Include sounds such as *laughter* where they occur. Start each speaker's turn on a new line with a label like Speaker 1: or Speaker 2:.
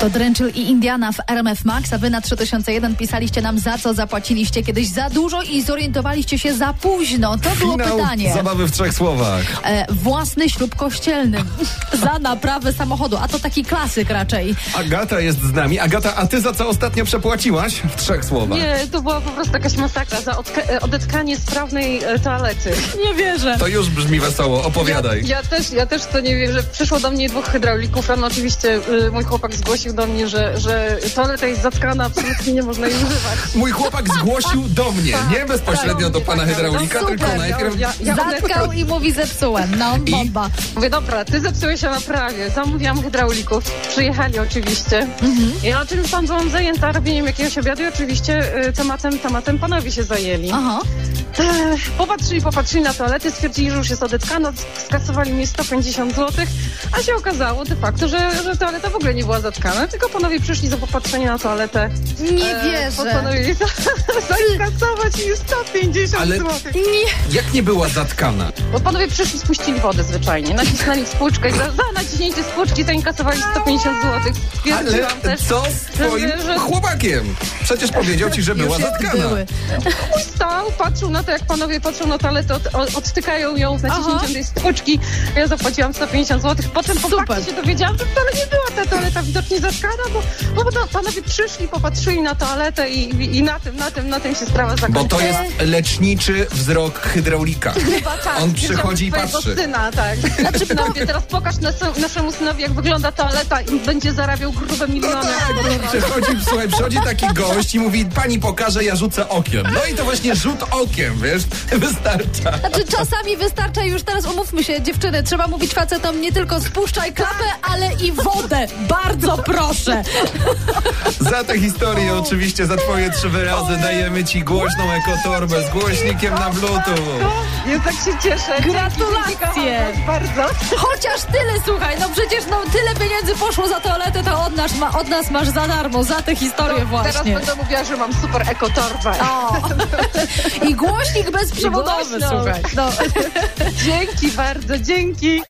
Speaker 1: To Dręczyl i Indiana w RMF Max, a wy na 3001 pisaliście nam za co zapłaciliście kiedyś za dużo i zorientowaliście się za późno. To było
Speaker 2: Finał
Speaker 1: pytanie.
Speaker 2: zabawy w trzech słowach.
Speaker 1: E, własny ślub kościelny *laughs* za naprawę samochodu, a to taki klasyk raczej.
Speaker 2: Agata jest z nami. Agata, a ty za co ostatnio przepłaciłaś? W trzech słowach.
Speaker 3: Nie, to była po prostu jakaś masakra za odka- e, odetkanie sprawnej e, toalety.
Speaker 1: Nie wierzę.
Speaker 2: To już brzmi wesoło, opowiadaj.
Speaker 3: Ja też, ja też to nie wiem, że przyszło do mnie dwóch hydraulików. Rano oczywiście y, mój chłopak zgłosił do mnie, że, że toaleta jest zatkana, absolutnie nie można jej używać.
Speaker 2: Mój chłopak zgłosił do mnie, nie bezpośrednio
Speaker 3: tak,
Speaker 2: do
Speaker 3: tak,
Speaker 2: pana
Speaker 3: tak,
Speaker 2: hydraulika,
Speaker 1: no super,
Speaker 2: tylko
Speaker 1: no,
Speaker 2: najpierw...
Speaker 3: ja- ja-
Speaker 1: Zatkał i mówi zepsułem. No, bomba.
Speaker 3: Mówię, dobra, ty zepsułeś się naprawie. Zamówiłam hydraulików. Przyjechali oczywiście. Ja o czymś tam byłam zajęta robieniem jakiegoś obiadu i oczywiście y, tematem, tematem panowie się zajęli.
Speaker 1: Aha.
Speaker 3: Ech, Popatrzyli, popatrzyli na toalety, stwierdzili, że już jest odetkana, skasowali mi 150 zł, a się okazało de facto, że, że toaleta w ogóle nie była zatkana, tylko panowie przyszli za popatrzenie na toaletę.
Speaker 1: Nie
Speaker 3: E,
Speaker 1: wierzę.
Speaker 3: Postanowili za- *laughs* zakasować mi 150
Speaker 2: Ale-
Speaker 3: zł.
Speaker 1: Nie.
Speaker 2: Jak nie była zatkana?
Speaker 3: Bo panowie przyszli, spuścili wodę zwyczajnie, nacisnęli spłuczkę i za, za naciśnięcie spłuczki zainkasowali 150 zł.
Speaker 2: Ale
Speaker 3: Stwierdziłam też,
Speaker 2: co z
Speaker 3: że-
Speaker 2: twoim
Speaker 3: że-
Speaker 2: chłopakiem? Przecież powiedział ci, że była
Speaker 1: Już jak
Speaker 2: zatkana.
Speaker 1: były.
Speaker 3: Mój stał, patrzył na to, jak panowie patrzą na toaletę, od, o- odtykają ją z
Speaker 1: Aha.
Speaker 3: naciśnięciem tej stłuczki. Ja zapłaciłam 150 zł. Potem po
Speaker 1: Super.
Speaker 3: fakcie się dowiedziałam, że wcale nie była ta toaleta widocznie zatkana, bo, bo potem panowie przyszli, popatrzyli na toaletę i, i, i na tym, na tym, na tym się sprawa zakończyła.
Speaker 2: Bo to jest leczniczy wzrok hydraulika.
Speaker 3: Chyba tak.
Speaker 2: On
Speaker 3: Widziałam
Speaker 2: przychodzi i
Speaker 3: twojego
Speaker 2: patrzy.
Speaker 3: syna, tak. Znaczy, mówię, teraz pokaż nas, naszemu synowi, jak wygląda toaleta i będzie zarabiał grube
Speaker 2: No
Speaker 3: miliony.
Speaker 2: tak, no, przychodzi, słuchaj, przychodzi taki gość i mówi, pani pokaże, ja rzucę okiem. No i to właśnie rzut okiem, wiesz, wystarcza.
Speaker 1: Znaczy czasami wystarcza już teraz umówmy się, dziewczyny, trzeba mówić facetom nie tylko spuszczaj klapę, ale i wodę. Bardzo proszę.
Speaker 2: Za tę historię oczywiście, za twoje trzy wyrazy dajemy ci głośną ekotorbę z głośnikiem na bluetooth.
Speaker 3: Ja tak się cieszę. Dzięki,
Speaker 1: Gratulacje.
Speaker 3: dzięki, kocham was bardzo.
Speaker 1: Chociaż tyle, słuchaj, no przecież no tyle pieniędzy poszło za toaletę, to od nas, ma, od nas masz za darmo, za tę historię
Speaker 3: No, Teraz
Speaker 1: właśnie. *laughs*
Speaker 3: będę mówiła, że mam super ekotorbę.
Speaker 1: O. I głośnik bezprzewodowy,
Speaker 3: I głośno. *laughs*
Speaker 1: słuchaj. No.
Speaker 3: Dzięki bardzo, dzięki.